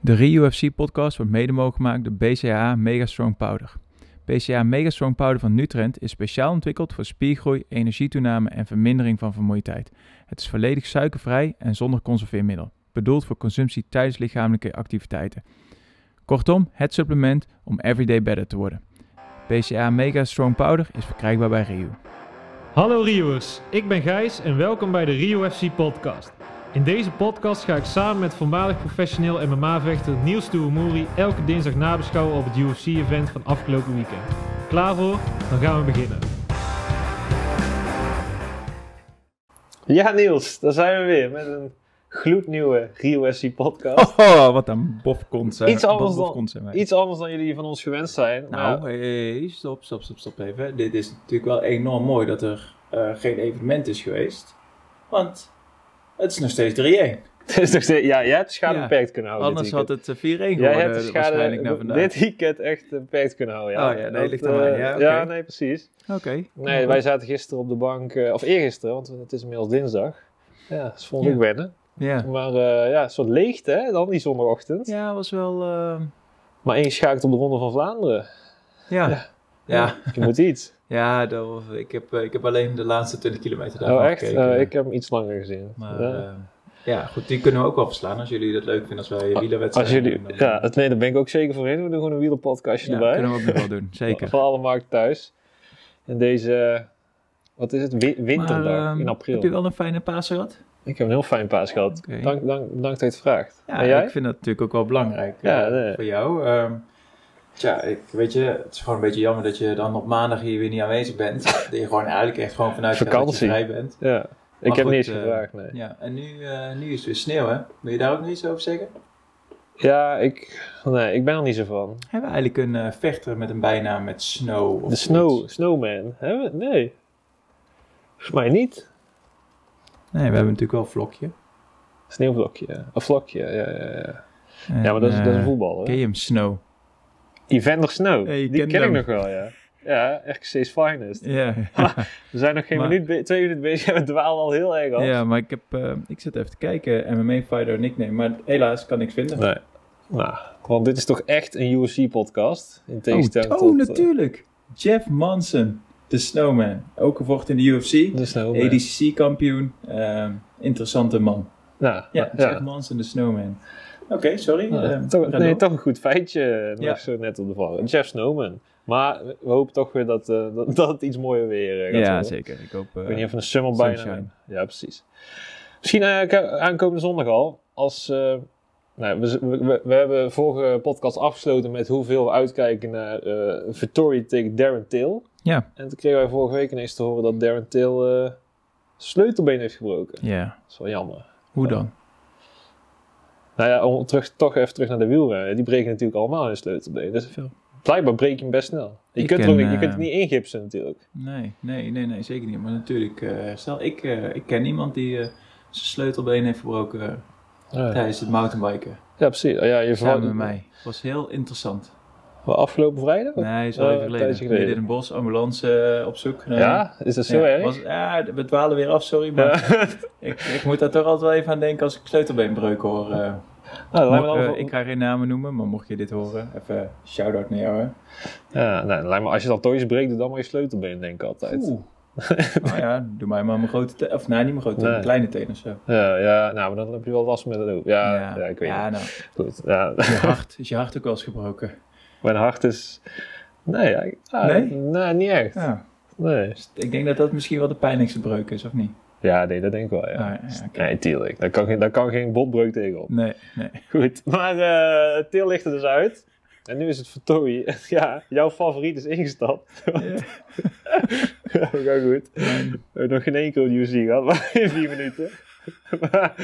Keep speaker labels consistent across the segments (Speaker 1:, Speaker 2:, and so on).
Speaker 1: De ReUFC podcast wordt mede mogelijk gemaakt door BCAA Mega Strong Powder. BCAA Mega Strong Powder van Nutrend is speciaal ontwikkeld voor spiergroei, energietoename en vermindering van vermoeidheid. Het is volledig suikervrij en zonder conserveermiddel, bedoeld voor consumptie tijdens lichamelijke activiteiten. Kortom, het supplement om everyday better te worden. BCAA Mega Strong Powder is verkrijgbaar bij Riu.
Speaker 2: Hallo Riuwers, ik ben Gijs en welkom bij de Rio FC podcast. In deze podcast ga ik samen met voormalig professioneel MMA-vechter Niels Touamuri elke dinsdag nabeschouwen op het UFC-event van afgelopen weekend. Klaar voor? Dan gaan we beginnen.
Speaker 3: Ja, Niels, daar zijn we weer met een gloednieuwe Rio FC podcast.
Speaker 1: Oh, wat een bofkont zijn.
Speaker 3: Iets anders
Speaker 1: bof-
Speaker 3: dan-
Speaker 1: bofkont zijn wij.
Speaker 3: Iets anders dan jullie van ons gewend zijn.
Speaker 4: Nou,
Speaker 3: maar-
Speaker 4: hey, hey, hey, stop, stop, stop, stop even. Dit is natuurlijk wel enorm mooi dat er eh, geen evenement is geweest. Want het is nog steeds Oh, 3-1.
Speaker 3: het is toch steeds- ja, jij hebt de schade
Speaker 1: Ja,
Speaker 3: beperkt kunnen houden.
Speaker 4: Anders
Speaker 3: dit
Speaker 4: had
Speaker 3: weekend.
Speaker 4: het eh, 4-1 geworden
Speaker 3: Jij hebt de schade
Speaker 4: waarschijnlijk naar vandaag.
Speaker 3: dit weekend echt eh, beperkt kunnen houden. Ja.
Speaker 4: Oh ja, nee,
Speaker 3: Dat,
Speaker 4: ligt aan
Speaker 3: eh,
Speaker 4: mij. Ja, oké.
Speaker 3: nee, precies.
Speaker 1: Oké.
Speaker 3: Nee, wij zaten gisteren op de bank, eh, of eergisteren, want het is inmiddels dinsdag. Ja, dat is volgende
Speaker 1: Ja.
Speaker 3: week wennen.
Speaker 1: Ja.
Speaker 3: Maar eh, ja, een soort leegte hè, dan die zondagochtend.
Speaker 1: Ja, was wel...
Speaker 4: ehm,
Speaker 1: eh,
Speaker 3: Maar ingeschakeld op de Ronde van Vlaanderen.
Speaker 1: Ja.
Speaker 4: Ja,
Speaker 3: Je moet iets.
Speaker 4: ja dat, ik, heb, eh, ik heb alleen de laatste 20 kilometer daarvan
Speaker 3: Oh, echt?
Speaker 4: gekeken.
Speaker 3: Eh, ik heb hem iets langer gezien.
Speaker 4: Maar
Speaker 3: Ja.
Speaker 4: eh, ja, goed, die kunnen we ook wel verslaan als jullie dat leuk vinden als wij
Speaker 3: Als
Speaker 4: wielerwedstrijden
Speaker 3: jullie,
Speaker 4: doen, dan-
Speaker 3: ja, het- nee, daar ben ik ook zeker voor in. We doen gewoon een wielerpodcastje
Speaker 1: ja,
Speaker 3: erbij.
Speaker 1: kunnen we ook nog wel doen, zeker.
Speaker 3: Van alle markten thuis. En deze, eh, wat is het, Wi- winterdag
Speaker 1: Maar, ehm,
Speaker 3: in april.
Speaker 1: Heb je wel een fijne paas gehad?
Speaker 3: Ik heb een heel fijn paas gehad.
Speaker 1: Oké.
Speaker 3: Dank, dank, dank dat je het vraagt.
Speaker 1: Ja,
Speaker 3: en jij?
Speaker 1: ik vind dat natuurlijk ook wel belangrijk.
Speaker 3: Ja,
Speaker 4: eh,
Speaker 3: nee.
Speaker 4: voor jou. Ehm, tja, ik, weet je, het is gewoon een beetje jammer dat je dan op maandag hier weer niet aanwezig bent. Dat je gewoon eigenlijk echt gewoon vanuit gaat
Speaker 3: Vakantie.
Speaker 4: dat je vrij bent.
Speaker 3: Ja. Ik heb
Speaker 4: goed,
Speaker 3: niets
Speaker 4: eh,
Speaker 3: gevraagd, nee.
Speaker 4: Ja, en nu, eh, nu is het weer sneeuw, hè? Wil je daar ook nog iets over zeggen?
Speaker 3: Ja, ik, nee, ik ben er niet zo van.
Speaker 4: Hebben we eigenlijk een eh, vechter met een bijnaam met Snow? of
Speaker 3: De
Speaker 4: zoiets?
Speaker 3: snow, snowman. Hè? Nee. Volgens mij niet.
Speaker 4: Nee, we hebben natuurlijk wel Vlokje.
Speaker 3: Sneeuwvlokje. Een vlokje, ja, ja, ja.
Speaker 1: En,
Speaker 3: Ja, maar dat is, dat is
Speaker 1: eh,
Speaker 3: voetbal, hè?
Speaker 1: Ken je hem, Snow?
Speaker 3: Evander Snow.
Speaker 1: Ja, je
Speaker 3: die
Speaker 1: kent
Speaker 3: ken
Speaker 1: hem.
Speaker 3: ik nog wel, ja. Ja, RKC's finest.
Speaker 1: Ja,
Speaker 3: We zijn nog geen
Speaker 1: Maar-
Speaker 3: minuut, be- twee minuten bezig en we dwalen al heel erg af.
Speaker 1: ja maar ik, heb, eh, ik zit even te kijken. MMA Fighter nickname, maar helaas kan ik vinden.
Speaker 3: Nee. Nou, want dit is toch echt een UFC-podcast? In
Speaker 1: Oh,
Speaker 3: tegenstelling
Speaker 1: oh,
Speaker 3: tot... eh,
Speaker 1: natuurlijk. Jeff Manson, de Snowman. Ook gevochten in de UFC.
Speaker 3: de Snowman.
Speaker 1: ADCC-kampioen. Ehm, interessante man.
Speaker 3: Nou,
Speaker 1: Ja,
Speaker 3: ja,
Speaker 1: Jeff Manson, de Snowman. Oké, sorry.
Speaker 3: Nou,
Speaker 1: eh,
Speaker 3: toch,
Speaker 1: ga
Speaker 3: nee,
Speaker 1: door.
Speaker 3: toch een goed feitje nog
Speaker 1: Ja.
Speaker 3: zo net op de vallen. Jeff Snowman. Maar we hopen toch weer dat, eh, dat, dat het iets mooier weer eh, gaat
Speaker 1: Ja,
Speaker 3: worden.
Speaker 1: zeker. Ik hoop... eh,
Speaker 3: Ik weet niet of we een summer bijna...
Speaker 1: Sunshine.
Speaker 3: Ja, precies. Misschien eh, k- aankomende zondag al, als... eh, nou, we, we- we, we hebben vorige podcast afgesloten met hoeveel we uitkijken naar eh Vittori tegen Darren Till.
Speaker 1: Ja.
Speaker 3: En toen kregen wij vorige week ineens te horen dat Darren Till eh, sleutelbeen heeft gebroken.
Speaker 1: Ja,
Speaker 3: Dat is wel jammer.
Speaker 1: hoe dan?
Speaker 3: Nou ja, om terug, toch even terug naar de wielrennen. Die breken natuurlijk allemaal hun sleutelbeen. Dus
Speaker 1: Veel.
Speaker 3: blijkbaar breek je hem best snel. Je,
Speaker 1: Ik
Speaker 3: kunt,
Speaker 1: ken,
Speaker 3: er ook niet, je
Speaker 1: eh,
Speaker 3: kunt het niet ingipsen natuurlijk.
Speaker 1: Nee, nee, nee, nee, zeker niet. Maar natuurlijk, eh, stel, ik, eh, ik ken iemand die eh, zijn sleutelbeen heeft verbroken eh,
Speaker 3: Ja,
Speaker 1: tijdens het mountainbiken.
Speaker 3: precies. Oh Ja, je
Speaker 1: Samen
Speaker 3: verwacht-
Speaker 1: met mij. Was heel interessant.
Speaker 3: Wel Afgelopen vrijdag?
Speaker 1: Nee, is
Speaker 3: Oh,
Speaker 1: al even
Speaker 3: een
Speaker 1: geleden.
Speaker 3: tijdje geleden.
Speaker 1: Midden in het bos, ambulance eh, op zoek. genomen.
Speaker 3: Ja, is dat zo
Speaker 1: Ja,
Speaker 3: erg? Nou,
Speaker 1: was- ja, we dwalen weer af, sorry. Maar ik, ik moet daar toch altijd wel even aan denken als ik sleutelbeenbreuk hoor. eh.
Speaker 3: nou, dat lijkt me
Speaker 1: Mo-
Speaker 3: wel
Speaker 1: eh,
Speaker 3: voor-
Speaker 1: ik ga geen namen noemen, maar mocht je dit horen, even shout-out naar jou. Hè.
Speaker 3: ja, nou, lijkt me, als je dan toys breekt, doe dan maar je sleutelbeen, denk ik altijd.
Speaker 1: Oeh. nou ja, doe mij maar mijn grote teen. Of nee, niet mijn grote teen,
Speaker 3: Nee.
Speaker 1: mijn kleine teen of zo.
Speaker 3: Ja, ja, nou, maar dan heb je wel last met het hoofd. Ja, ja. ik weet
Speaker 1: ja,
Speaker 3: niet.
Speaker 1: nou,
Speaker 3: Goed, ja.
Speaker 1: je hart, is je hart ook wel eens gebroken?
Speaker 3: Mijn hart is... Nee, ja, ik- ah,
Speaker 1: Nee?
Speaker 3: nee, niet echt.
Speaker 1: Ja.
Speaker 3: Nee.
Speaker 1: Dus ik denk dat dat misschien wel de pijnlijkste breuk is, of niet?
Speaker 3: Ja, nee, dat denk ik wel, ja.
Speaker 1: Ah, ja, oké.
Speaker 3: Nee, tuurlijk. Daar kan, geen- daar kan geen botbreuk tegen op.
Speaker 1: Nee, nee.
Speaker 3: Goed. Maar eh Til ligt er dus uit. En nu is het Vertooi. ja, jouw favoriet is ingestapt.
Speaker 1: Ja.
Speaker 3: Ja, ook wel goed. We hebben nog geen enkele UC gehad, maar in vier minuten. maar,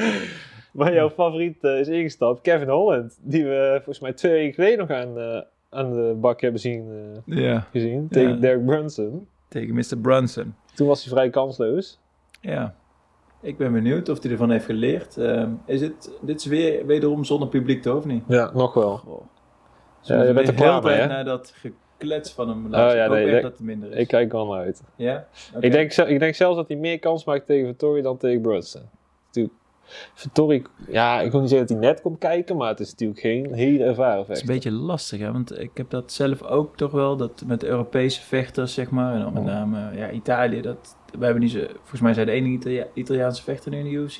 Speaker 3: maar jouw favoriet eh, is ingestapt, Kevin Holland. Die we volgens mij twee weken geleden nog aan, eh, aan de bak hebben zien, eh,
Speaker 1: Ja,
Speaker 3: gezien. Tegen
Speaker 1: Ja.
Speaker 3: Derek Brunson.
Speaker 1: tegen Mr. Brunson.
Speaker 3: Toen was hij vrij kansloos.
Speaker 1: Ja. Ik ben benieuwd of hij ervan heeft geleerd. Ehm, is het, dit is weer wederom zonder publiek, toch, of niet?
Speaker 3: Ja, nog wel.
Speaker 1: Goh. Dus
Speaker 3: Ja,
Speaker 1: we
Speaker 3: je bent
Speaker 1: moeten
Speaker 3: er klaar
Speaker 1: heel de tijd
Speaker 3: mee, hè? Oh,
Speaker 1: naar dat geklets van hem luisteren.
Speaker 3: ja,
Speaker 1: ik hoop
Speaker 3: nee,
Speaker 1: echt
Speaker 3: ik-
Speaker 1: dat het minder is.
Speaker 3: Ik kijk er wel naar uit.
Speaker 1: ja? Oké.
Speaker 3: Ik, denk, ze- ik denk zelfs dat hij meer kans maakt tegen Vittori dan tegen Brunson. Natuurlijk Vittori, ja, ik wil niet zeggen dat hij net komt kijken, maar het is natuurlijk geen hele ervaren
Speaker 1: Het is
Speaker 3: vechter.
Speaker 1: een beetje lastig, hè? want ik heb dat zelf ook toch wel, dat met Europese vechters, zeg maar, en dan
Speaker 3: Oh.
Speaker 1: met name ja, Italië, dat, we hebben niet zo, volgens mij zijn de enige Italia- Italiaanse vechter nu in de UFC.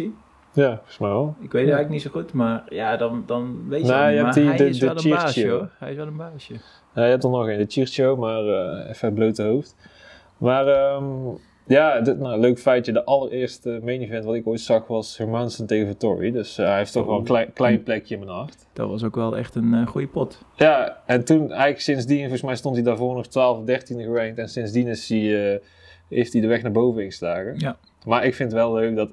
Speaker 3: Ja, volgens mij wel.
Speaker 1: Ik weet het eigenlijk niet zo goed, maar ja, dan, dan weet je
Speaker 3: Nou,
Speaker 1: het niet.
Speaker 3: je hebt
Speaker 1: Maar
Speaker 3: die-
Speaker 1: hij
Speaker 3: de-
Speaker 1: is
Speaker 3: de
Speaker 1: wel een baasje,
Speaker 3: Chirchio.
Speaker 1: hoor. Hij is wel een baasje.
Speaker 3: Ja, je hebt er nog een, de Cheers Show, maar eh, even het blote hoofd. Maar ehm, ja, dit, nou, leuk feitje. De allereerste main event wat ik ooit zag was Hermansen tegen Vittori. Dus eh, hij heeft toch
Speaker 1: Oh.
Speaker 3: wel een klein, klein plekje in mijn hart.
Speaker 1: Dat was ook wel echt een eh goede pot.
Speaker 3: Ja, en toen eigenlijk sindsdien, volgens mij stond hij daarvoor nog 12 of 13 gerankt. En sindsdien is hij, eh, heeft hij de weg naar boven ingeslagen.
Speaker 1: Ja.
Speaker 3: Maar ik vind het wel leuk dat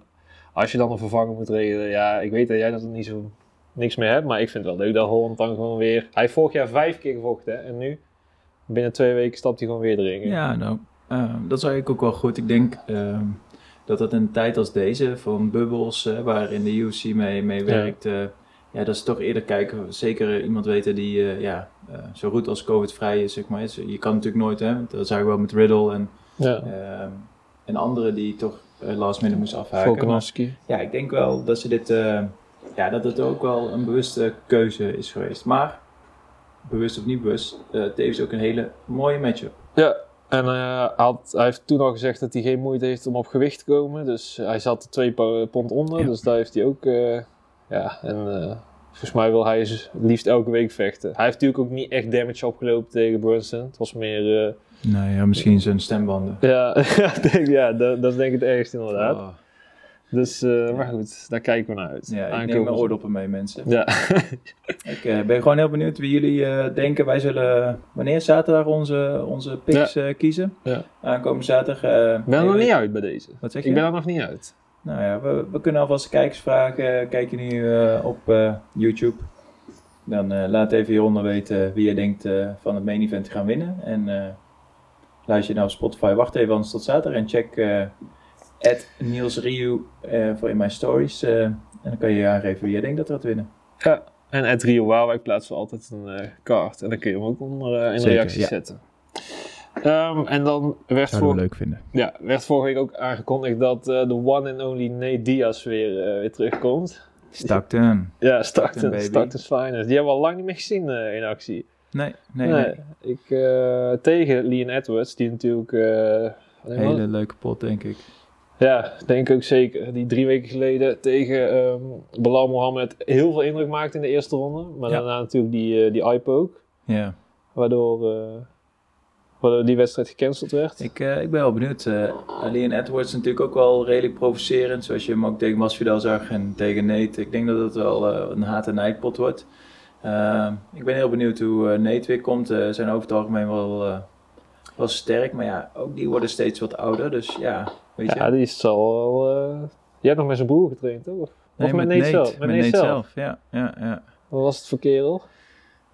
Speaker 3: als je dan een vervanger moet regelen. Ja, ik weet dat jij dat niet zo niks meer hebt. Maar ik vind het wel leuk dat Holland dan gewoon weer... Hij heeft vorig jaar vijf keer gevochten hè, en nu... Binnen twee weken stapt hij gewoon weer erin.
Speaker 1: Ja, nou, eh, dat is eigenlijk ook wel goed. Ik denk eh, dat dat in een tijd als deze, van bubbels, eh, waarin de UFC mee, mee
Speaker 3: Ja.
Speaker 1: werkt, eh, ja, dat is toch eerder kijken. Zeker eh, iemand weten die eh, ja, eh, zo goed als COVID-vrij is, zeg maar. Is- Je kan natuurlijk nooit, hè, want dat zag ik wel met Riddle en,
Speaker 3: Ja.
Speaker 1: eh, en anderen die toch eh, last minute moest afhaken. Maar,
Speaker 3: Volkanovski.
Speaker 1: ja, ik denk wel dat ze dit, eh, ja, dat het ook wel een bewuste keuze is geweest. Maar, bewust of niet bewust, eh tevens ook een hele mooie matchup.
Speaker 3: Ja, en eh, hij had, hij heeft toen al gezegd dat hij geen moeite heeft om op gewicht te komen. Dus hij zat er twee po- pond onder.
Speaker 1: Ja.
Speaker 3: Dus daar heeft hij ook... eh, ja, en eh, volgens mij wil hij z- liefst elke week vechten. Hij heeft natuurlijk ook niet echt damage opgelopen tegen Brunson. Het was meer... eh,
Speaker 5: Nou ja,
Speaker 1: Misschien zijn stembanden.
Speaker 3: ja, ik denk- ja dat, dat is denk ik het ergste inderdaad.
Speaker 1: Oh,
Speaker 3: Dus, eh, maar goed, daar kijken we naar uit.
Speaker 1: ja, ik neem
Speaker 3: Aankomend-
Speaker 1: mijn oordoppen mee, mensen.
Speaker 3: Ja,
Speaker 1: Ik eh, ben gewoon heel benieuwd wie jullie eh, denken. Wij zullen wanneer zaterdag onze, onze picks eh, kiezen.
Speaker 3: Ja.
Speaker 1: Aankomende zaterdag. eh,
Speaker 3: ik ben er nog
Speaker 1: nee,
Speaker 3: niet uit bij deze.
Speaker 1: Wat zeg je?
Speaker 3: Ik ben er nog niet uit.
Speaker 1: Nou ja, we, we kunnen alvast kijkers vragen. Kijk je nu eh, op eh, YouTube. Dan eh, laat even hieronder weten wie je denkt eh, van het main event te gaan winnen. En eh, luister je nou op Spotify, wacht even anders tot zaterdag. En check eh Niels Rieu eh, voor in mijn stories. eh, en dan kan je aangeven wie je denkt dat er gaat winnen.
Speaker 3: Ja. En at Rio Waalwijk plaatsen we altijd een eh, kaart. En dan kun je hem ook onder, eh, in de
Speaker 5: Zeker,
Speaker 3: reacties
Speaker 5: ja.
Speaker 3: zetten. Ehm, en dan werd,
Speaker 5: zouden
Speaker 3: vor-
Speaker 5: we leuk vinden.
Speaker 3: ja, werd vorige week ook aangekondigd dat eh, de one and only Nate Diaz weer, eh, weer terugkomt.
Speaker 5: Stockton.
Speaker 3: Ja, Stockton,
Speaker 1: baby.
Speaker 3: Stockton Finest. Die hebben we al lang niet meer gezien eh, in actie.
Speaker 5: Nee, nee, nee.
Speaker 3: Ik, eh, tegen Leon Edwards, die natuurlijk... eh, wat was
Speaker 5: Hele leuke pot, denk ik.
Speaker 3: Ja, denk ik ook zeker. Die drie weken geleden tegen ehm Belal Mohammed heel veel indruk maakte in de eerste ronde. Maar
Speaker 5: Ja.
Speaker 3: daarna natuurlijk die, eh die eye-poke,
Speaker 5: Ja.
Speaker 3: waardoor, eh, waardoor die wedstrijd gecanceld werd.
Speaker 1: Ik, eh, ik ben wel benieuwd. eh Leon Edwards is natuurlijk ook wel redelijk provocerend. Zoals je hem ook tegen Masvidal zag en tegen Nate. Ik denk dat het wel eh, een haat- en nijdpot wordt. Ehm, ik ben heel benieuwd hoe eh, Nate weer komt. Eh, zijn over het algemeen wel, eh, wel sterk. Maar ja, ook die worden steeds wat ouder. Dus ja, weet je.
Speaker 3: ja, die is al wel... eh, Jij hebt nog met zijn broer getraind, toch? Of,
Speaker 5: Nee,
Speaker 3: of met Nate zelf?
Speaker 5: Met Nate zelf. Ja, ja, ja.
Speaker 3: Wat was het voor kerel?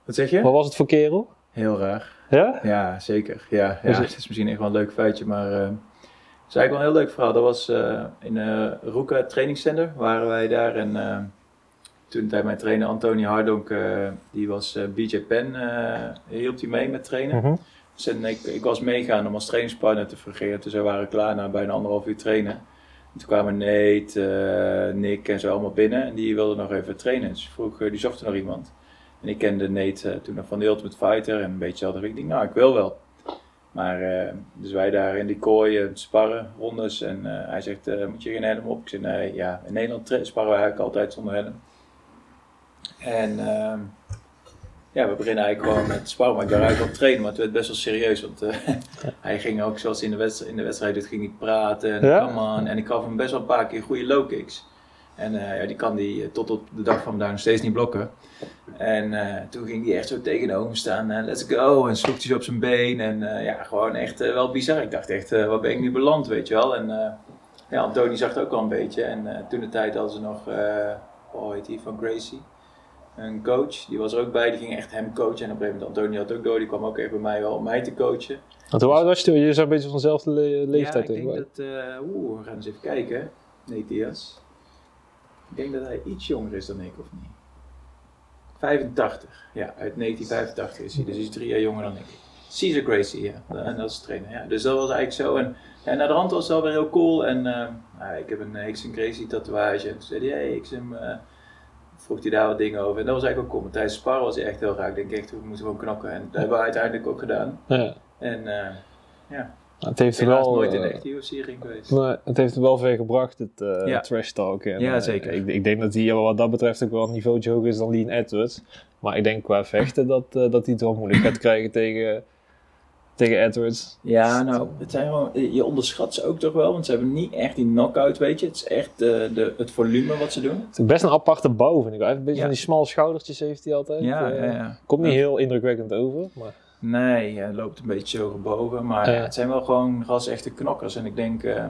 Speaker 1: Wat zeg je?
Speaker 3: Wat was het voor kerel?
Speaker 1: Heel raar.
Speaker 3: Ja?
Speaker 1: Ja, zeker. Ja, ja
Speaker 3: Dus-
Speaker 1: het is misschien echt wel een leuk feitje. Maar eh, het is eigenlijk wel een heel leuk verhaal. Dat was eh, in eh Roeka Training Center. Waren wij daar en... eh, toen tijd mijn trainer Antonie Hardonk, eh, die was eh, BJ Penn, eh, hielp hij mee met trainen.
Speaker 3: Mhm.
Speaker 1: Dus en ik, ik was meegaan om als trainingspartner te fungeren. Dus wij waren klaar na bijna anderhalf uur trainen. En toen kwamen Nate, eh, Nick en zo allemaal binnen. En die wilden nog even trainen. Dus ik vroeg, eh, die zochten nog iemand. En ik kende Nate eh, toen nog van de Ultimate Fighter. En een beetje hadden ik denk, nou ik wil wel. Maar eh, dus wij daar in die kooi eh, sparren, rondes. En eh, hij zegt, eh, moet je geen helm op? Ik zeg, nee, ja. In Nederland tra- sparren we eigenlijk altijd zonder helm. En ehm, ja, we beginnen eigenlijk gewoon met sparren. Maar ik ben eigenlijk al trainen, maar het werd best wel serieus. Want eh, hij ging ook, zoals hij in de wedstrijd, in de wedstrijd doet, ging hij praten. En,
Speaker 3: Ja?
Speaker 1: come on. en ik gaf hem best wel een paar keer goede low kicks. En eh, ja, die kan die eh, tot op de dag van vandaag nog steeds niet blokken. En eh, toen ging hij echt zo tegenover me staan. eh, let's go. En sloeg hij zo op zijn been. En eh, ja, gewoon echt eh, wel bizar. Ik dacht echt, eh, waar ben ik nu beland, weet je wel. En eh, ja, Antoni zag het ook al een beetje. En eh, toen de tijd hadden ze nog, eh hoe heet die, van Gracie. Een coach, die was er ook bij. Die ging echt hem coachen. En op een gegeven moment, Antoni had ook door. Die kwam ook echt bij mij wel om mij te coachen.
Speaker 3: Want hoe oud was je toen? Jullie zijn een beetje van dezelfde le- leeftijd,
Speaker 1: Ja, ik denk
Speaker 3: ik.
Speaker 1: dat... eh, Oeh, we gaan eens even kijken. Nee, Diaz. Ik denk dat hij iets jonger is dan ik, of niet? 85. Ja, uit 1985 is hij. Dus hij is drie jaar jonger dan ik. Caesar Gracie, ja. En dat is de trainer, ja. Dus dat was eigenlijk zo. En, en naar de hand was het wel weer heel cool. En eh, nou, ik heb een Hicks en Crazy tatoeage. En toen zei hij, hey, Hicks, en, eh, vroeg hij daar wat dingen over. En dat was eigenlijk ook cool. Tijdens het sparren was hij echt heel raak. Ik denk echt, we moeten gewoon knokken. En dat hebben we uiteindelijk ook gedaan.
Speaker 3: Ja.
Speaker 1: En eh ja,
Speaker 3: Het heeft er
Speaker 1: helaas
Speaker 3: wel,
Speaker 1: nooit in
Speaker 3: eh,
Speaker 1: de echte UFC-ring geweest.
Speaker 3: maar het heeft er wel veel gebracht, het eh,
Speaker 5: Ja.
Speaker 3: trash talk. En,
Speaker 5: Ja,
Speaker 3: eh,
Speaker 5: zeker.
Speaker 3: Ik, ik denk dat hij wat dat betreft ook wel een niveau hoger is dan Lean Edwards. Maar ik denk qua vechten dat, eh, dat hij het wel moeilijk gaat krijgen tegen, tegen Edwards.
Speaker 5: Dus
Speaker 1: Ja, nou, het zijn gewoon, je onderschat ze ook toch wel, want ze hebben niet echt die knock-out, weet je. Het is echt eh, de, het volume wat ze doen.
Speaker 3: Het is best een aparte bouw, vind ik. Hij heeft een beetje
Speaker 1: Ja.
Speaker 3: van die smalle schoudertjes heeft hij altijd.
Speaker 5: Ja,
Speaker 3: Eh,
Speaker 5: ja, ja.
Speaker 3: Komt niet heel indrukwekkend over, maar...
Speaker 1: Nee, hij loopt een beetje zo gebogen, maar
Speaker 3: Ja.
Speaker 1: ja, het zijn wel gewoon ras echte knokkers. En ik denk, eh,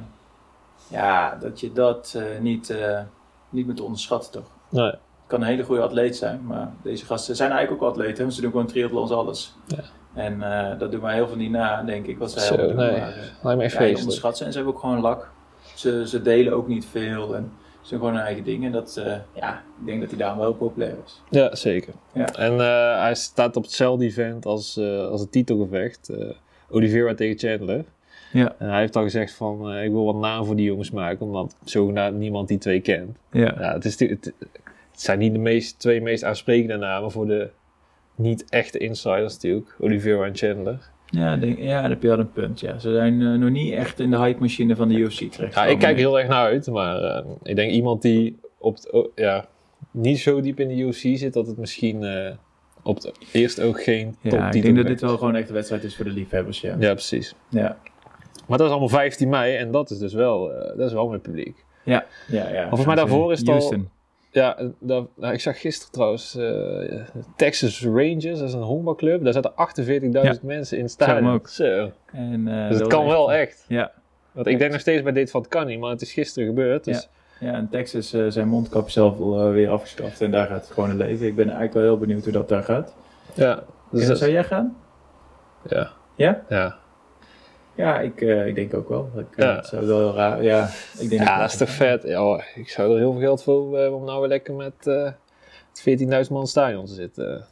Speaker 1: ja, dat je dat eh, niet, eh, niet moet onderschatten, toch.
Speaker 3: Nee.
Speaker 1: Het kan een hele goede atleet zijn, maar deze gasten zijn eigenlijk ook atleten. want Ze doen gewoon triathlons, alles.
Speaker 3: Ja.
Speaker 1: En eh, dat doen wij heel veel niet na, denk ik, wat zij
Speaker 3: Zo,
Speaker 1: allemaal doen.
Speaker 3: nee.
Speaker 1: Maar, eh,
Speaker 3: Lijkt me echt
Speaker 1: ja, je
Speaker 3: vreselijk.
Speaker 1: onderschat ze en ze hebben ook gewoon lak. Ze, ze delen ook niet veel en ze doen gewoon hun eigen ding. En dat, eh, ja, ik denk dat hij daarom wel populair is.
Speaker 3: Ja, zeker.
Speaker 1: Ja.
Speaker 3: En eh, hij staat op hetzelfde event als, eh, als het titelgevecht. eh Oliveira tegen Chandler.
Speaker 5: Ja.
Speaker 3: En hij heeft al gezegd van, eh, ik wil wat naam voor die jongens maken, omdat zogenaamd niemand die twee kent.
Speaker 5: Ja,
Speaker 3: Ja, het, is, natuurlijk- het, het zijn niet de meest, twee meest aansprekende namen voor de niet-echte insiders natuurlijk. Oliveira en Chandler.
Speaker 1: Ja, denk, ja, dan heb je wel een punt. Ja. Ze zijn eh, nog niet echt in de hype-machine van de UFC terecht.
Speaker 3: Ja, ik kijk heel erg naar uit, maar eh, ik denk iemand die op het, o- ja, niet zo diep in de UFC zit, dat het misschien eh, op het eerst ook geen
Speaker 5: Ja,
Speaker 3: top
Speaker 5: ik denk dat dit
Speaker 1: wel gewoon echt een wedstrijd is voor de liefhebbers, ja.
Speaker 3: Ja, precies.
Speaker 1: Ja,
Speaker 3: Maar dat is allemaal 15 mei en dat is dus wel, eh, dat is wel met publiek.
Speaker 1: ja, ja.
Speaker 3: Volgens mij daarvoor is het al-
Speaker 5: Houston.
Speaker 3: Ja, eh, daar- nou, ik zag gisteren trouwens eh, Texas Rangers, dat is een honkbalclub. Daar zaten 48.000 mensen in het
Speaker 5: zag hem
Speaker 3: stadion.
Speaker 5: ook.
Speaker 3: Zo.
Speaker 5: En, eh,
Speaker 3: Dus
Speaker 5: dat
Speaker 3: het
Speaker 5: was
Speaker 3: kan wel echt.
Speaker 5: Ja.
Speaker 3: Want ik denk nog steeds bij dit van het kan niet, maar het is gisteren gebeurd. Dus
Speaker 1: Ja, in Texas eh, zijn mondkapjes zelf al eh, weer afgeschaft en daar gaat het gewoon een leven. Ik ben eigenlijk wel heel benieuwd hoe dat daar gaat.
Speaker 3: ja. Dus
Speaker 1: Ja,
Speaker 3: dat-
Speaker 1: zou jij gaan?
Speaker 3: ja.
Speaker 1: Ja?
Speaker 3: Ja.
Speaker 1: Ja, ik, eh, ik denk ook wel. Ik, eh,
Speaker 3: Ja.
Speaker 1: Het zou wel heel raar... Ja, ik denk
Speaker 3: Ja,
Speaker 1: het wel.
Speaker 3: dat is toch vet. Ja, hoor, ik zou er heel veel geld voor hebben om nou weer lekker met eh, het 14.000 man stadion te zitten.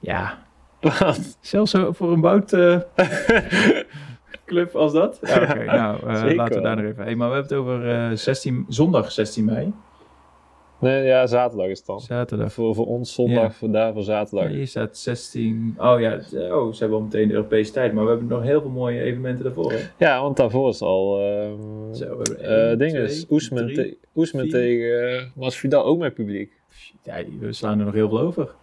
Speaker 1: Ja,
Speaker 3: Want-
Speaker 1: Zelfs zo voor een bout eh, club als dat.
Speaker 5: Ja, Oké, nou, eh,
Speaker 3: Zeker
Speaker 5: laten we daar
Speaker 3: wel.
Speaker 5: nog even... Hey, maar we hebben het over eh, 16, zondag 16 mei.
Speaker 3: nee, ja, zaterdag is het dan.
Speaker 5: Zaterdag.
Speaker 3: Voor, voor ons zondag,
Speaker 5: Ja.
Speaker 3: voor daar voor zaterdag.
Speaker 1: Hier staat 16. Oh ja, het- oh, ze hebben al meteen de Europese tijd. Maar we hebben nog heel veel mooie evenementen daarvoor. Hè?
Speaker 3: Ja, want daarvoor is al ehm
Speaker 1: Zo, we hebben
Speaker 3: eh
Speaker 1: één,
Speaker 3: dingen.
Speaker 1: twee,
Speaker 3: Oesman,
Speaker 1: drie.
Speaker 3: te- Oesman
Speaker 1: vier.
Speaker 3: tegen eh Masvidal ook met publiek.
Speaker 1: Ja, we slaan er nog heel veel over.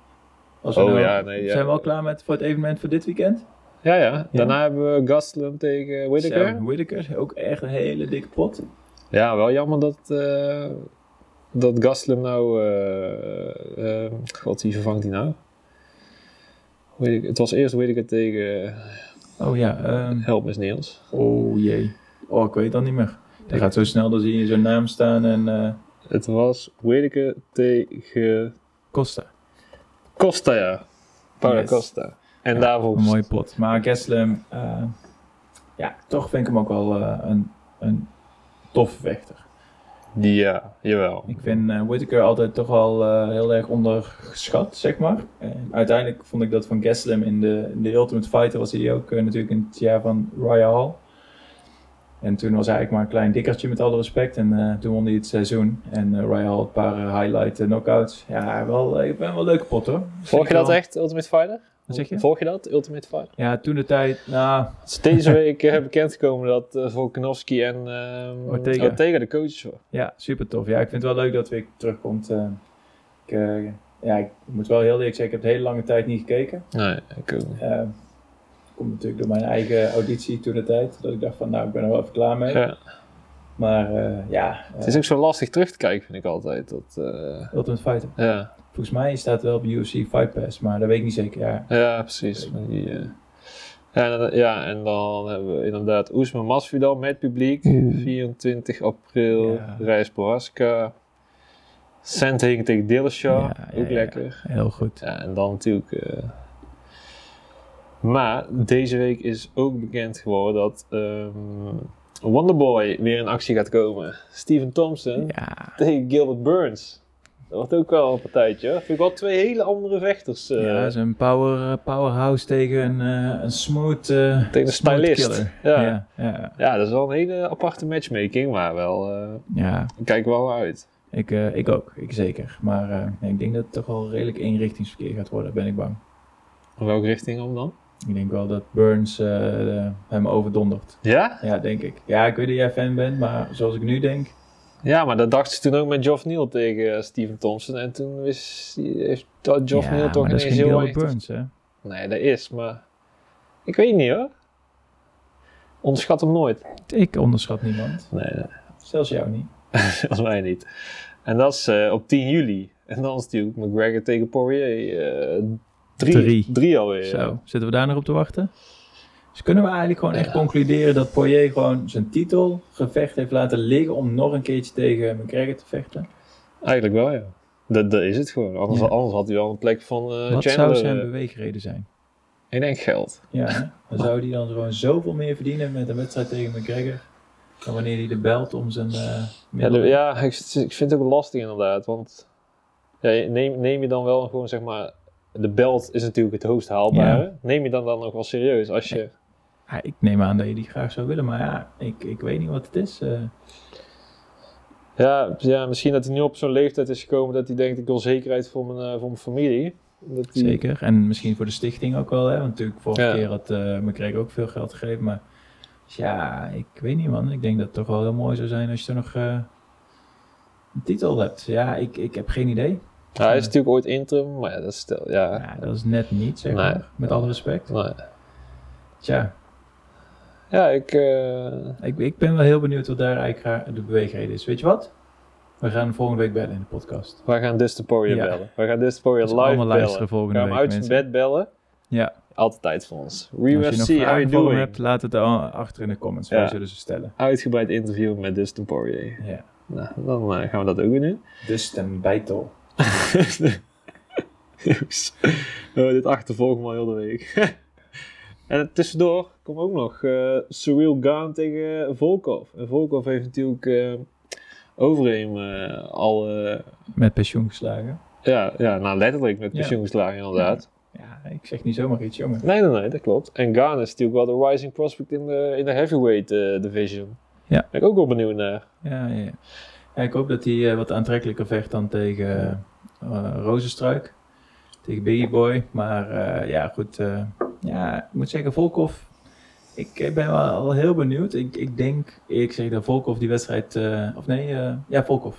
Speaker 1: Als we
Speaker 3: Oh,
Speaker 1: nou-
Speaker 3: ja, nee, ja.
Speaker 1: Zijn we al klaar met, voor het evenement voor dit weekend?
Speaker 3: Ja, ja. Daarna hebben we Gastelum tegen Whittaker.
Speaker 1: Sharon Whittaker, ook echt een hele dikke pot.
Speaker 3: Ja, wel jammer dat, eh, dat Gastelum nou... eh, eh, God, wie vervangt hij nou? Whittaker- Het was eerst Whittaker tegen...
Speaker 1: Oh ja, ehm,
Speaker 3: Help me Niels.
Speaker 1: oh jee. Oh, ik weet dat niet meer. Dat gaat zo snel, dan zie je zo'n naam staan en... eh,
Speaker 3: Het was Whittaker tegen
Speaker 5: Costa.
Speaker 3: Costa, ja. Paula
Speaker 1: Yes.
Speaker 3: Costa. En daarvoor...
Speaker 5: Een mooie pot.
Speaker 1: Maar Gaslam, eh, ja, toch vind ik hem ook wel eh, een, een toffe vechter.
Speaker 3: Ja, jawel.
Speaker 1: Ik vind eh, Whittaker altijd toch al eh, heel erg ondergeschat, zeg maar. En uiteindelijk vond ik dat van Gaslam in de, in de Ultimate Fighter was hij ook eh, natuurlijk in het jaar van Royal Hall. En toen was hij eigenlijk maar een klein dikkertje met alle respect. En eh, toen won hij het seizoen. En eh Royal Hall een paar eh, highlight eh, knockouts. Ja, wel, eh, ik ben wel een leuke pot hoor.
Speaker 3: Volg je
Speaker 1: Zeker
Speaker 3: dat
Speaker 1: wel.
Speaker 3: echt, Ultimate Fighter?
Speaker 5: Wat zeg je?
Speaker 3: Volg je dat, Ultimate Fighter?
Speaker 1: Ja, toen de tijd, nou,
Speaker 3: Het is deze week eh, bekendgekomen dat eh, Volkanovski en ehm,
Speaker 5: Ortega.
Speaker 3: de coaches waren.
Speaker 1: Ja, super tof. Ja, ik vind het wel leuk dat weer terugkomt. Eh, ik, eh, ja, ik moet wel heel eerlijk zeggen, ik heb het hele lange tijd niet gekeken.
Speaker 3: Nee, ik ook niet.
Speaker 1: Eh komt natuurlijk door mijn eigen auditie toen de tijd. Dat ik dacht van, nou, ik ben er wel even klaar mee.
Speaker 3: Ja.
Speaker 1: Maar eh, ja, eh,
Speaker 3: Het is ook zo lastig terug te kijken, vind ik altijd. Dat, eh,
Speaker 1: Ultimate Fighter.
Speaker 3: ja.
Speaker 1: Volgens mij staat het wel op UFC Fight Pass, maar dat weet ik niet zeker. Ja,
Speaker 3: ja, precies. Maar die, eh, en, eh, ja, en dan hebben we inderdaad Oesman Masvidal met publiek. 24 april,
Speaker 5: Mm. Ja.
Speaker 3: Reis Boraska. Sandhagen tegen Dillashaw,
Speaker 5: Ja, ja,
Speaker 3: ook
Speaker 5: ja.
Speaker 3: lekker.
Speaker 5: Heel goed.
Speaker 3: Ja, en dan natuurlijk. eh, Maar deze week is ook bekend geworden dat ehm, Wonderboy weer in actie gaat komen. Steven Thompson
Speaker 5: Ja,
Speaker 3: tegen Gilbert Burns. Dat wordt ook wel een partijtje. hoor. Vind ik wel twee hele andere vechters. eh,
Speaker 1: ja, dat is een power, eh, powerhouse tegen een, eh, een smooth, eh,
Speaker 3: Tegen een
Speaker 1: smooth
Speaker 3: stylist.
Speaker 1: killer.
Speaker 3: Ja.
Speaker 1: Ja, ja,
Speaker 3: ja, dat is wel een hele aparte matchmaking, maar wel. eh,
Speaker 1: ja.
Speaker 3: ik kijk er wel naar uit.
Speaker 1: Ik, eh, ik ook, ik zeker. Maar eh, nee, ik denk dat het toch wel redelijk eenrichtingsverkeer gaat worden, ben ik bang.
Speaker 3: In welke richting om dan?
Speaker 1: Ik denk wel dat Burns eh, eh, hem overdondert.
Speaker 3: Ja?
Speaker 1: Ja, denk ik. Ja, ik weet dat jij fan bent, maar zoals ik nu denk...
Speaker 3: Ja, maar dat dacht ze toen ook met Geoff Neal tegen eh, Steven Thompson. En toen wist, heeft dat Geoff
Speaker 1: ja,
Speaker 3: Neal toch
Speaker 1: maar dat
Speaker 3: ineens
Speaker 1: is geen
Speaker 3: heel
Speaker 1: Gilbert
Speaker 3: erg...
Speaker 1: Burns, hè?
Speaker 3: Nee, dat is, maar... Ik weet niet hoor. Onderschat hem nooit.
Speaker 1: Ik onderschat niemand.
Speaker 3: Nee, nee,
Speaker 1: Zelfs jou niet.
Speaker 3: volgens mij niet. En dat is eh, op 10 juli. En dan is natuurlijk McGregor tegen Poirier. eh drie,
Speaker 1: Drie.
Speaker 3: drie. alweer.
Speaker 1: Zo, zitten we daar nog op te wachten? Dus kunnen we eigenlijk gewoon echt concluderen dat Poirier gewoon zijn titelgevecht heeft laten liggen om nog een keertje tegen McGregor te vechten?
Speaker 3: Eigenlijk wel, ja. Dat, dat is het gewoon. Anders,
Speaker 1: Ja.
Speaker 3: anders had hij wel een plek van eh
Speaker 1: Wat zou
Speaker 3: Chandler.
Speaker 1: zijn
Speaker 3: eh,
Speaker 1: beweegreden zijn?
Speaker 3: ik denk geld.
Speaker 1: Ja, hè? dan zou hij dan gewoon zoveel meer verdienen met een wedstrijd tegen McGregor dan wanneer hij de belt om zijn eh
Speaker 3: Ja,
Speaker 1: middel.
Speaker 3: de- ja ik, ik vind het ook lastig inderdaad. Want ja, je- neem, neem je dan wel gewoon zeg maar... De belt is natuurlijk het hoogst haalbare. Neem je dan dan ook wel serieus als je...
Speaker 1: Ja, Ah, ik neem aan dat je die graag zou willen, maar ja, ik, ik weet niet wat het is. eh.
Speaker 3: Ja, ja misschien dat hij nu op zo'n leeftijd is gekomen dat hij denkt... Ik wil zekerheid voor mijn, eh, voor mijn familie. Dat hij-
Speaker 1: Zeker. En misschien voor de stichting ook wel, hè? Want natuurlijk, vorige
Speaker 3: Mm. Ja.
Speaker 1: keer had eh McGregor ook veel geld gegeven. Maar dus ja, ik weet niet, man. Ik denk dat het toch wel heel mooi zou zijn als je er nog eh, een titel hebt. Ja, ik, ik heb geen idee.
Speaker 3: Ja, hij is natuurlijk ooit interim, maar ja, dat is stel... Ja,
Speaker 1: Ja, dat is net niet, zeg
Speaker 3: Nee.
Speaker 1: maar. Met alle respect.
Speaker 3: nou,
Speaker 1: Tja,
Speaker 3: ja ik... eh,
Speaker 1: ik, ik ben wel heel benieuwd wat daar eigenlijk gra- de beweegreden is. Weet je wat? We gaan volgende week bellen in de podcast.
Speaker 3: we gaan dus de Poirier
Speaker 1: Ja.
Speaker 3: bellen. We gaan dus de Poirier
Speaker 1: Dus
Speaker 3: live
Speaker 1: allemaal
Speaker 3: bellen.
Speaker 1: luisteren
Speaker 3: we
Speaker 1: volgende
Speaker 3: gaan
Speaker 1: week,
Speaker 3: hem uit zijn
Speaker 1: mensen.
Speaker 3: bed bellen.
Speaker 1: Ja,
Speaker 3: Altijd tijd voor ons.
Speaker 1: als je
Speaker 3: UFC,
Speaker 1: nog vragen
Speaker 3: how you
Speaker 1: voor hem
Speaker 3: doing?
Speaker 1: hebt, laat het dan achter in de comments.
Speaker 3: Ja.
Speaker 1: Wij zullen ze stellen.
Speaker 3: Uitgebreid interview met Dustin Poirier.
Speaker 1: Ja.
Speaker 3: Nou, dan eh, gaan we dat ook weer doen.
Speaker 1: Dus ten bijtel.
Speaker 3: Jongens, we hebben dit achtervolgen maar heel de week. en tussendoor komt ook nog eh Surreal Gaan tegen Volkov. En Volkov heeft natuurlijk eh Overeem eh, al, eh,
Speaker 1: Met pensioen geslagen.
Speaker 3: ja, ja, nou letterlijk met
Speaker 1: Ja.
Speaker 3: pensioen geslagen inderdaad.
Speaker 1: Ja, ik zeg niet zomaar iets, jongen.
Speaker 3: Nee, nee, nee, dat klopt. En Gaan is natuurlijk wel de rising prospect in de, in de heavyweight eh, division.
Speaker 1: Ja.
Speaker 3: Ben ik ook wel benieuwd naar.
Speaker 1: Ja, ja. ja. Ja, ik hoop dat hij eh, wat aantrekkelijker vecht dan tegen eh Rozenstruik. Tegen Biggie Boy. Maar eh, ja, goed. eh, ja, ik moet zeggen, Volkov. Ik eh, ben wel al heel benieuwd. Ik, ik denk, ik zeg dat Volkov die wedstrijd. eh, of nee, eh, ja, Volkov.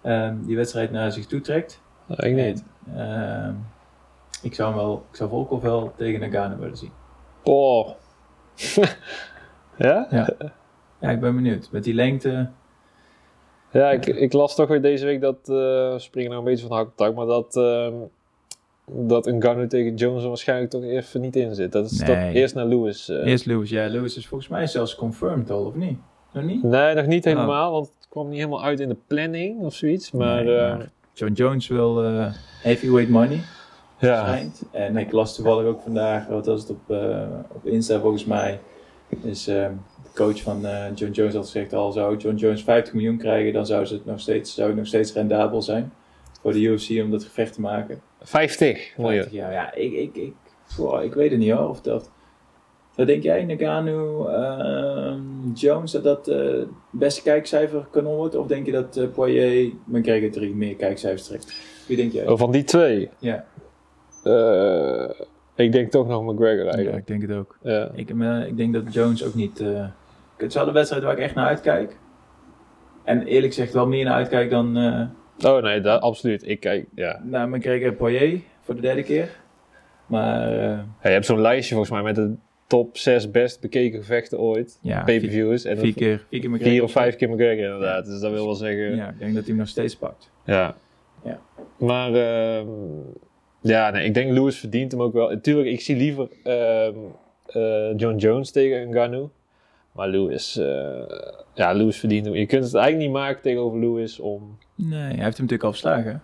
Speaker 1: eh, die wedstrijd naar zich toe trekt.
Speaker 3: Nou, ik niet.
Speaker 1: Ehm, ik, zou hem wel, ik zou Volkov wel tegen Nagano willen zien.
Speaker 3: Oh. ja?
Speaker 1: Ja. ja, ik ben benieuwd. Met die lengte.
Speaker 3: Ja, ik, ik las toch weer deze week dat, eh, we springen nou een beetje van hak op tak, maar dat, ehm dat Ngannou tegen Jones er waarschijnlijk toch even niet in zit. Dat is dat
Speaker 1: Nee.
Speaker 3: eerst naar Lewis. eh.
Speaker 1: Eerst Lewis. Ja, Lewis is volgens mij zelfs confirmed al, of niet? Nog niet?
Speaker 3: Nee, nog
Speaker 1: Oh.
Speaker 3: niet helemaal, want het kwam niet helemaal uit in de planning of zoiets. Maar,
Speaker 1: Nee,
Speaker 3: eh,
Speaker 1: maar John Jones wil eh, heavyweight money,
Speaker 3: ja.
Speaker 1: schijnt. En ik las toevallig ook vandaag, wat was het op, eh, op Insta volgens mij, is eh, de coach van eh, John Jones had gezegd, al zou John Jones 50 miljoen krijgen, dan zou, ze het nog steeds, zou het nog steeds rendabel zijn voor de UFC om dat gevecht te maken.
Speaker 3: 50 miljoen.
Speaker 1: 50 jaar, ja, ik, ik, ik, wow, ik weet het niet hoor, of dat... Wat denk jij, Nagano, ehm, Jones, dat dat eh, het beste kijkcijfer kanon wordt? Of denk je dat eh, Poirier McGregor 3 meer kijkcijfers trekt? Wie denk jij?
Speaker 3: Oh, Van die twee.
Speaker 1: Ja.
Speaker 3: eh, ik denk toch nog McGregor eigenlijk.
Speaker 1: ik denk het ook.
Speaker 3: Ja.
Speaker 1: Ik, eh, ik denk dat Jones ook niet... eh, het is wel de wedstrijd waar ik echt naar uitkijk. En eerlijk gezegd wel meer naar uitkijk dan eh,
Speaker 3: Oh nee, dat, absoluut. Ik kijk, ja.
Speaker 1: naar McGregor en Poirier voor de derde keer. Maar eh,
Speaker 3: Ja, je hebt zo'n lijstje volgens mij met de top 6 best bekeken gevechten ooit.
Speaker 1: ja, vier,
Speaker 3: Pay-per-views. En
Speaker 1: vier
Speaker 3: dan
Speaker 1: keer, vier keer McGregor.
Speaker 3: vier of vijf keer McGregor inderdaad. Dus dat wil wel zeggen... Ja.
Speaker 1: Ja, ik denk dat hij hem nog steeds pakt.
Speaker 3: ja.
Speaker 1: Ja.
Speaker 3: Maar ehm, ja, nee, ik denk Lewis verdient hem ook wel. Natuurlijk, ik zie liever ehm, eh, John Jones tegen Ngannou. Maar Lewis, eh, ja, Lewis verdient hem. Je kunt het eigenlijk niet maken tegenover Lewis om...
Speaker 1: Nee, hij heeft hem natuurlijk al verslagen.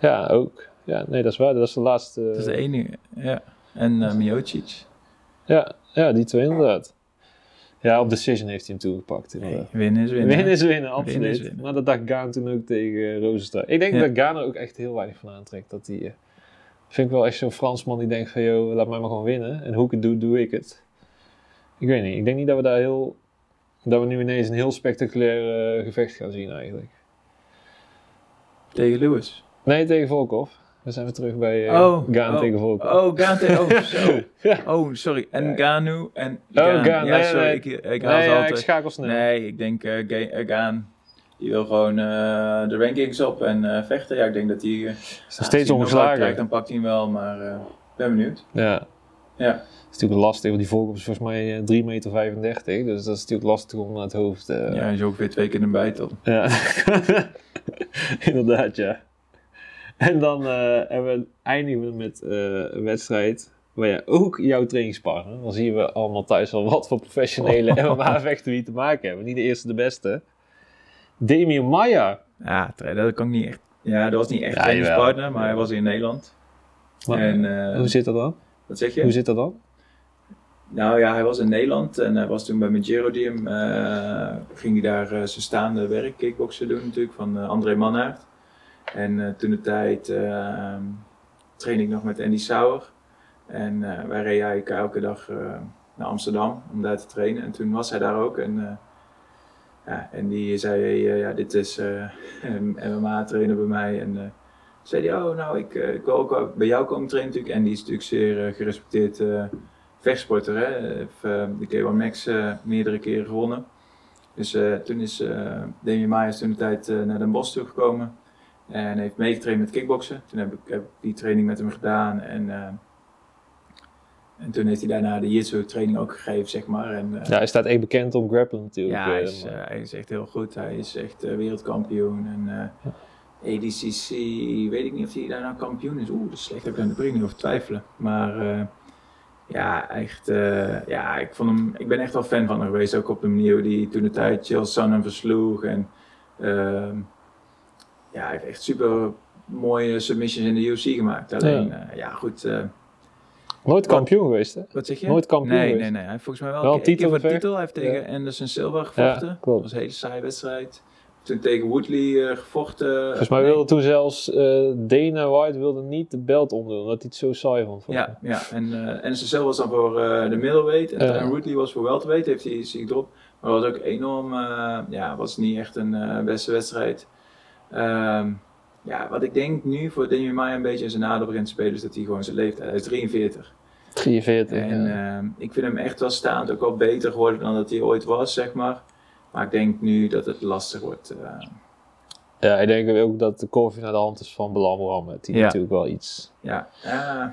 Speaker 3: Ja, ook. Ja, nee, dat is waar. Dat is de laatste...
Speaker 1: Dat is de enige, ja. En eh Miocic.
Speaker 3: Ja, ja, die twee inderdaad. Ja, op Decision heeft hij hem toen gepakt.
Speaker 5: Hey,
Speaker 3: inderdaad.
Speaker 5: winnen is winnen.
Speaker 3: Winnen is winnen, absoluut.
Speaker 5: Winnen is winnen.
Speaker 3: Maar dat dacht Gaan toen ook tegen eh, Rozenstruik. Ik denk
Speaker 5: Ja.
Speaker 3: dat Gaan er ook echt heel weinig van aantrekt. Dat hij, eh, vind ik wel echt zo'n Fransman die denkt van, joh, laat mij maar gewoon winnen. En hoe ik het doe, doe ik het. Ik weet niet, ik denk niet dat we daar heel... Dat we nu ineens een heel spectaculair eh, gevecht gaan zien eigenlijk.
Speaker 1: Tegen Lewis.
Speaker 3: Nee, tegen Volkov. Dan zijn we terug bij eh
Speaker 5: Oh,
Speaker 3: Gaan
Speaker 5: oh,
Speaker 3: tegen Volkov.
Speaker 1: Oh, Gaan tegen... Oh, zo.
Speaker 3: Ja.
Speaker 1: Oh, sorry. En
Speaker 3: Ja.
Speaker 1: Ganu en
Speaker 3: Oh,
Speaker 1: Gaan.
Speaker 3: Gaan,
Speaker 1: Ja,
Speaker 3: nee,
Speaker 1: sorry.
Speaker 3: nee.
Speaker 1: Ik, ik haal
Speaker 3: nee,
Speaker 1: ze
Speaker 3: ja, ik
Speaker 1: altijd.
Speaker 3: schakel snel.
Speaker 1: Nee, ik denk eh, Ga- eh, Gaan. Die wil gewoon eh, de rankings op en eh, vechten. Ja, ik denk dat hij... eh,
Speaker 3: Is nog
Speaker 1: als
Speaker 3: steeds
Speaker 1: hij een knockout krijgt,
Speaker 3: ongeslagen.
Speaker 1: Dan pakt hij hem wel, maar eh, ik ben benieuwd.
Speaker 3: Ja.
Speaker 1: Ja.
Speaker 3: Dat is natuurlijk lastig, want die Volkov is volgens mij eh, 3,35 meter. dus dat is natuurlijk lastig om naar het hoofd... eh,
Speaker 1: Ja, hij is ook weer twee keer een bijtel.
Speaker 3: Ja, inderdaad, ja. En dan eh, hebben we, eindigen we met eh, een wedstrijd waar je ook jouw trainingspartner, dan zien we allemaal thuis al wat voor professionele
Speaker 1: Oh.
Speaker 3: MMA-vechten we hier te maken hebben. Niet de eerste, de beste. Damien Maya.
Speaker 1: Ja, tra- dat kan ik niet echt. Ja, dat was niet echt
Speaker 3: Ja,
Speaker 1: een trainingspartner,
Speaker 3: jawel.
Speaker 1: maar hij was in Nederland.
Speaker 3: Maar,
Speaker 1: en, eh,
Speaker 3: hoe zit dat dan?
Speaker 1: wat zeg je?
Speaker 3: Hoe zit dat dan?
Speaker 1: Nou ja, hij was in Nederland en hij was toen bij Magero Diem. eh, ging hij daar eh, zijn staande werk, kickboksen doen natuurlijk, van eh, André Manhaert. En eh toen de tijd eh, trainde ik nog met Andy Sauer. En eh, wij reden eigenlijk elke dag eh, naar Amsterdam om daar te trainen. En toen was hij daar ook. En, eh, ja, en die zei, hey, eh, ja, dit is eh, een MMA trainer bij mij. En eh, zei hij, oh nou, ik, eh, ik wil ook wel bij jou komen trainen natuurlijk. En die is natuurlijk zeer eh, gerespecteerd... eh, vechtsporter. Hè? Heeft, eh, de K1 Max eh, meerdere keren gewonnen. Dus eh, toen is eh Damien Maaiers toen de tijd eh, naar Den Bosch toegekomen. En heeft meegetraind met kickboksen. Toen heb ik heb ik die training met hem gedaan. En, eh, en toen heeft hij daarna de jitsu training ook gegeven, zeg maar. En, eh,
Speaker 3: Ja, hij staat echt bekend om grappelen natuurlijk.
Speaker 1: ja,
Speaker 3: eh,
Speaker 1: hij is,
Speaker 3: maar-
Speaker 1: eh, hij is echt heel goed. Hij is echt eh, wereldkampioen. En eh, ADCC, weet ik niet of hij daar nou kampioen is. Oeh, dat is slecht. Daar kan ik niet over twijfelen. Maar eh, ja, echt. eh, ja, ik, vond hem, ik ben echt wel fan van hem geweest. Ook op de manier hoe hij toen de tijd Chael Sonnen versloeg. En ehm, ja, hij heeft echt super mooie submissions in de UFC gemaakt. Alleen, ja, ja goed. eh,
Speaker 3: Nooit kampioen geweest, hè?
Speaker 1: wat zeg je?
Speaker 3: Nooit kampioen
Speaker 1: Nee,
Speaker 3: geweest.
Speaker 1: nee, nee. Hij heeft volgens mij wel,
Speaker 3: Wel
Speaker 1: een keer- keer voor de
Speaker 3: titelgevecht.
Speaker 1: titel. Hij heeft tegen Anderson Silva gevochten.
Speaker 3: Ja,
Speaker 1: dat
Speaker 3: klopt.
Speaker 1: was een hele saaie wedstrijd. Toen tegen Woodley eh, gevochten.
Speaker 3: Volgens mij
Speaker 1: Nee.
Speaker 3: wilde toen zelfs eh, Dana White wilde niet de belt omdoen, omdat hij het zo saai vond.
Speaker 1: Ja, ja. en eh Anderson Silva was dan voor eh, de middleweight. En
Speaker 3: Ja.
Speaker 1: Tyron Woodley was voor welterweight. Heeft hij zich erop. Maar dat was ook enorm... eh, ja, was niet echt een eh, beste wedstrijd. Ehm, ja, wat ik denk nu voor Demi Maya een beetje in zijn nadeel begint te spelen... is dat hij gewoon zijn leeftijd... Hij is 43.
Speaker 3: 43.
Speaker 1: En
Speaker 3: ja.
Speaker 1: ehm, ik vind hem echt wel staand, ook al beter geworden dan dat hij ooit was, zeg maar. Maar ik denk nu dat het lastig wordt. eh.
Speaker 3: Ja, ik denk ook dat de koffie naar de hand is van Belal Mohammed. Die
Speaker 5: Ja.
Speaker 3: natuurlijk wel iets...
Speaker 1: ja. Ah,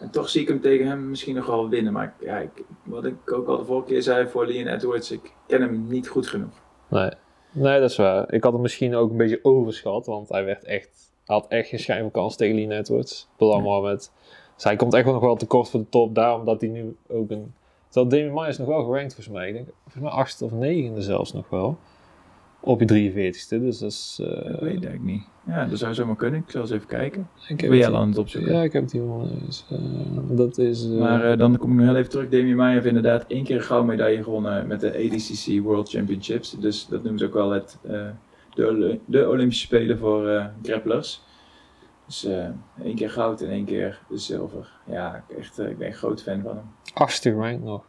Speaker 1: en toch zie ik hem tegen hem misschien nog wel winnen. Maar ik- ja, ik, wat ik ook al de vorige keer zei voor Leon Edwards, ik ken hem niet goed genoeg.
Speaker 3: Nee. nee, dat is waar. Ik had hem misschien ook een beetje overschat, want hij werd echt... hij had echt geen schijn van kans tegen Lean Edwards, Belal Mohammed. Dus hij komt echt wel nog wel tekort voor de top, daarom dat hij nu ook een... Terwijl Damien Myers nog wel gerankt volgens mij. Ik denk, volgens mij achtste of negende zelfs nog wel. Op je 43ste, dus dat is... eh,
Speaker 1: Dat weet ik eigenlijk niet. Ja, dat zou zomaar kunnen. Ik zal eens even kijken.
Speaker 3: ik heb
Speaker 1: Ben jij
Speaker 3: het-
Speaker 1: al aan het opzoeken?
Speaker 3: Ja, ik heb die wel eens. eh, dat is... eh,
Speaker 1: Maar eh, dan kom ik nog heel even terug. Demi Meyer heeft inderdaad één keer een gouden medaille gewonnen met de ADCC World Championships. Dus dat noemen ze ook wel het, eh, de, Oli- de Olympische Spelen voor eh grapplers. Dus eh, één keer goud en één keer de zilver. Ja, ik, echt, eh, ik ben een groot fan van hem.
Speaker 3: achtste gerankt nog.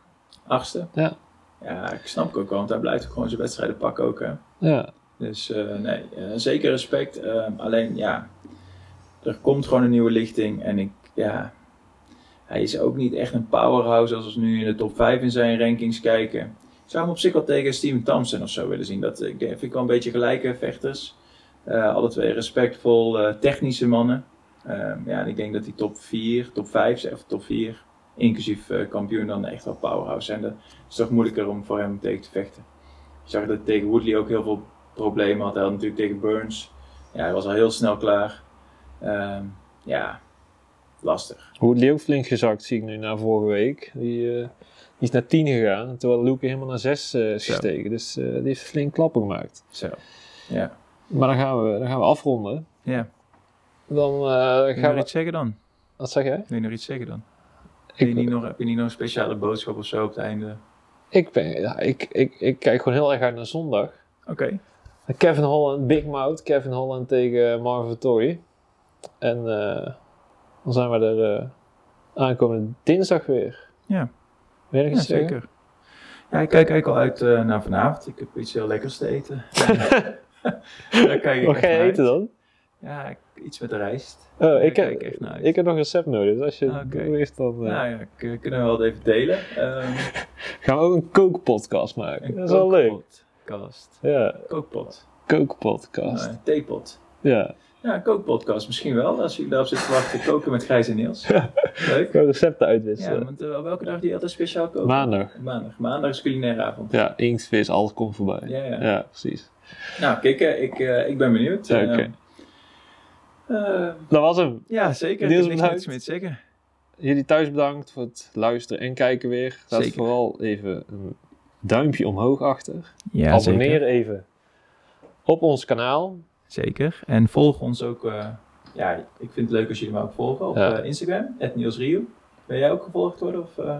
Speaker 1: Achtste.
Speaker 3: Ja.
Speaker 1: Ja, ik snap het ook wel, want hij blijft ook gewoon zijn wedstrijden pakken ook. Hè.
Speaker 3: Ja,
Speaker 1: Dus eh, nee, eh, zeker respect. Eh, alleen ja, er komt gewoon een nieuwe lichting. En ik, ja, hij is ook niet echt een powerhouse als we nu in de top 5 in zijn rankings kijken. Ik zou hem op zich wel tegen Steven Thompson of zo willen zien. Dat eh, ik denk, vind ik wel een beetje gelijke vechters. Eh, alle twee respectvol, eh, technische mannen. Ehm, ja, en ik denk dat die top 4, top 5, of top 4, inclusief eh, kampioen, dan echt wel powerhouse zijn. Dat is toch moeilijker om voor hem tegen te vechten. Je zag dat hij tegen Woodley ook heel veel problemen had. Hij had natuurlijk tegen Burns. Ja, hij was al heel snel klaar. Ehm, ja, lastig.
Speaker 3: Woodley ook flink gezakt, zie ik nu na vorige week. Die, eh, die is naar 10 gegaan, terwijl Luke helemaal naar 6 is
Speaker 1: Zo.
Speaker 3: gestegen. Dus eh, die heeft flink klappen gemaakt.
Speaker 1: Zo.
Speaker 3: Maar dan gaan we, dan gaan we afronden.
Speaker 5: Ja,
Speaker 3: Dan eh,
Speaker 5: wil je
Speaker 3: gaan
Speaker 5: nog
Speaker 3: we...
Speaker 5: iets zeggen dan?
Speaker 3: Wat zeg jij?
Speaker 5: Wil je nog iets zeggen dan?
Speaker 1: Heb je,
Speaker 3: Ik-
Speaker 1: niet nog, heb je niet nog een speciale boodschap of zo op het einde?
Speaker 3: Ik, ben, ja, ik, ik, ik kijk gewoon heel erg uit naar zondag.
Speaker 5: Oké.
Speaker 3: Kevin Holland, Big Mouth. Kevin Holland tegen Marvin Vittori. En eh, dan zijn we er eh, aankomende dinsdag weer.
Speaker 5: Ja.
Speaker 3: Weet eh, je
Speaker 5: Ja,
Speaker 3: nog iets zeggen?
Speaker 5: zeker. Ja, ik kijk eigenlijk al uit eh, naar vanavond. Ik heb iets heel lekkers te eten. Daar kijk ik
Speaker 3: Wat
Speaker 5: echt
Speaker 3: ga je
Speaker 5: naar
Speaker 3: eten
Speaker 5: uit.
Speaker 3: dan?
Speaker 5: Ja, ik- iets met rijst.
Speaker 3: Oh, ik,
Speaker 5: Daar
Speaker 3: heb,
Speaker 5: kijk ik echt naar uit.
Speaker 3: ik heb nog een recept nodig. Dus als je
Speaker 5: Oké.
Speaker 3: het heeft, dan eh,
Speaker 5: Nou ja, k- kunnen we wel even delen. Ehm,
Speaker 3: gaan we ook een kookpodcast maken.
Speaker 5: een
Speaker 3: dat is wel leuk.
Speaker 5: kookpodcast.
Speaker 3: Ja,
Speaker 5: Kookpot.
Speaker 3: kookpodcast.
Speaker 1: Nee, theepot.
Speaker 3: Ja,
Speaker 1: Ja, een kookpodcast misschien wel. Als jullie daarop zit te wachten, koken met Gijs en Niels. Leuk.
Speaker 3: gewoon recepten
Speaker 1: Ja,
Speaker 3: uitwisselen.
Speaker 1: want eh, welke dag die altijd speciaal koken?
Speaker 3: Maandag.
Speaker 1: Maandag. Maandag is culinaire avond.
Speaker 3: Ja, inktvis, alles komt voorbij.
Speaker 1: Ja, ja.
Speaker 3: precies.
Speaker 1: Nou, kijk, eh, ik, eh, ik ben benieuwd. Eh,
Speaker 3: Oké.
Speaker 1: eh,
Speaker 3: Dat was hem.
Speaker 5: Ja, zeker.
Speaker 3: Niels
Speaker 5: Er is niks
Speaker 3: bedankt.
Speaker 5: meer te zeggen.
Speaker 3: Jullie thuis bedankt voor het luisteren en kijken weer. Laat
Speaker 5: Zeker.
Speaker 3: vooral even een duimpje omhoog achter.
Speaker 5: Ja,
Speaker 3: Abonneer even op ons kanaal.
Speaker 5: Zeker. En volg ons ook. eh, ja, ik vind het leuk als jullie me ook volgen op
Speaker 3: Ja.
Speaker 1: eh,
Speaker 5: eh, Instagram, @nielsrieu.
Speaker 1: wil jij ook gevolgd worden? Of, eh,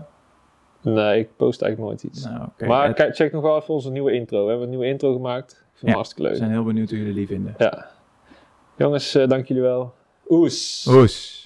Speaker 3: Nee, ik post eigenlijk nooit iets.
Speaker 5: Nou, oké.
Speaker 3: maar
Speaker 5: Eh,
Speaker 3: kijk, check nog wel even onze nieuwe intro. We hebben een nieuwe intro gemaakt. Ik vind
Speaker 5: Ja.
Speaker 3: hem hartstikke
Speaker 5: We
Speaker 3: leuk.
Speaker 5: zijn heel benieuwd hoe jullie die vinden.
Speaker 3: Ja. Jongens, eh, dank jullie wel. Oes.
Speaker 5: Oes.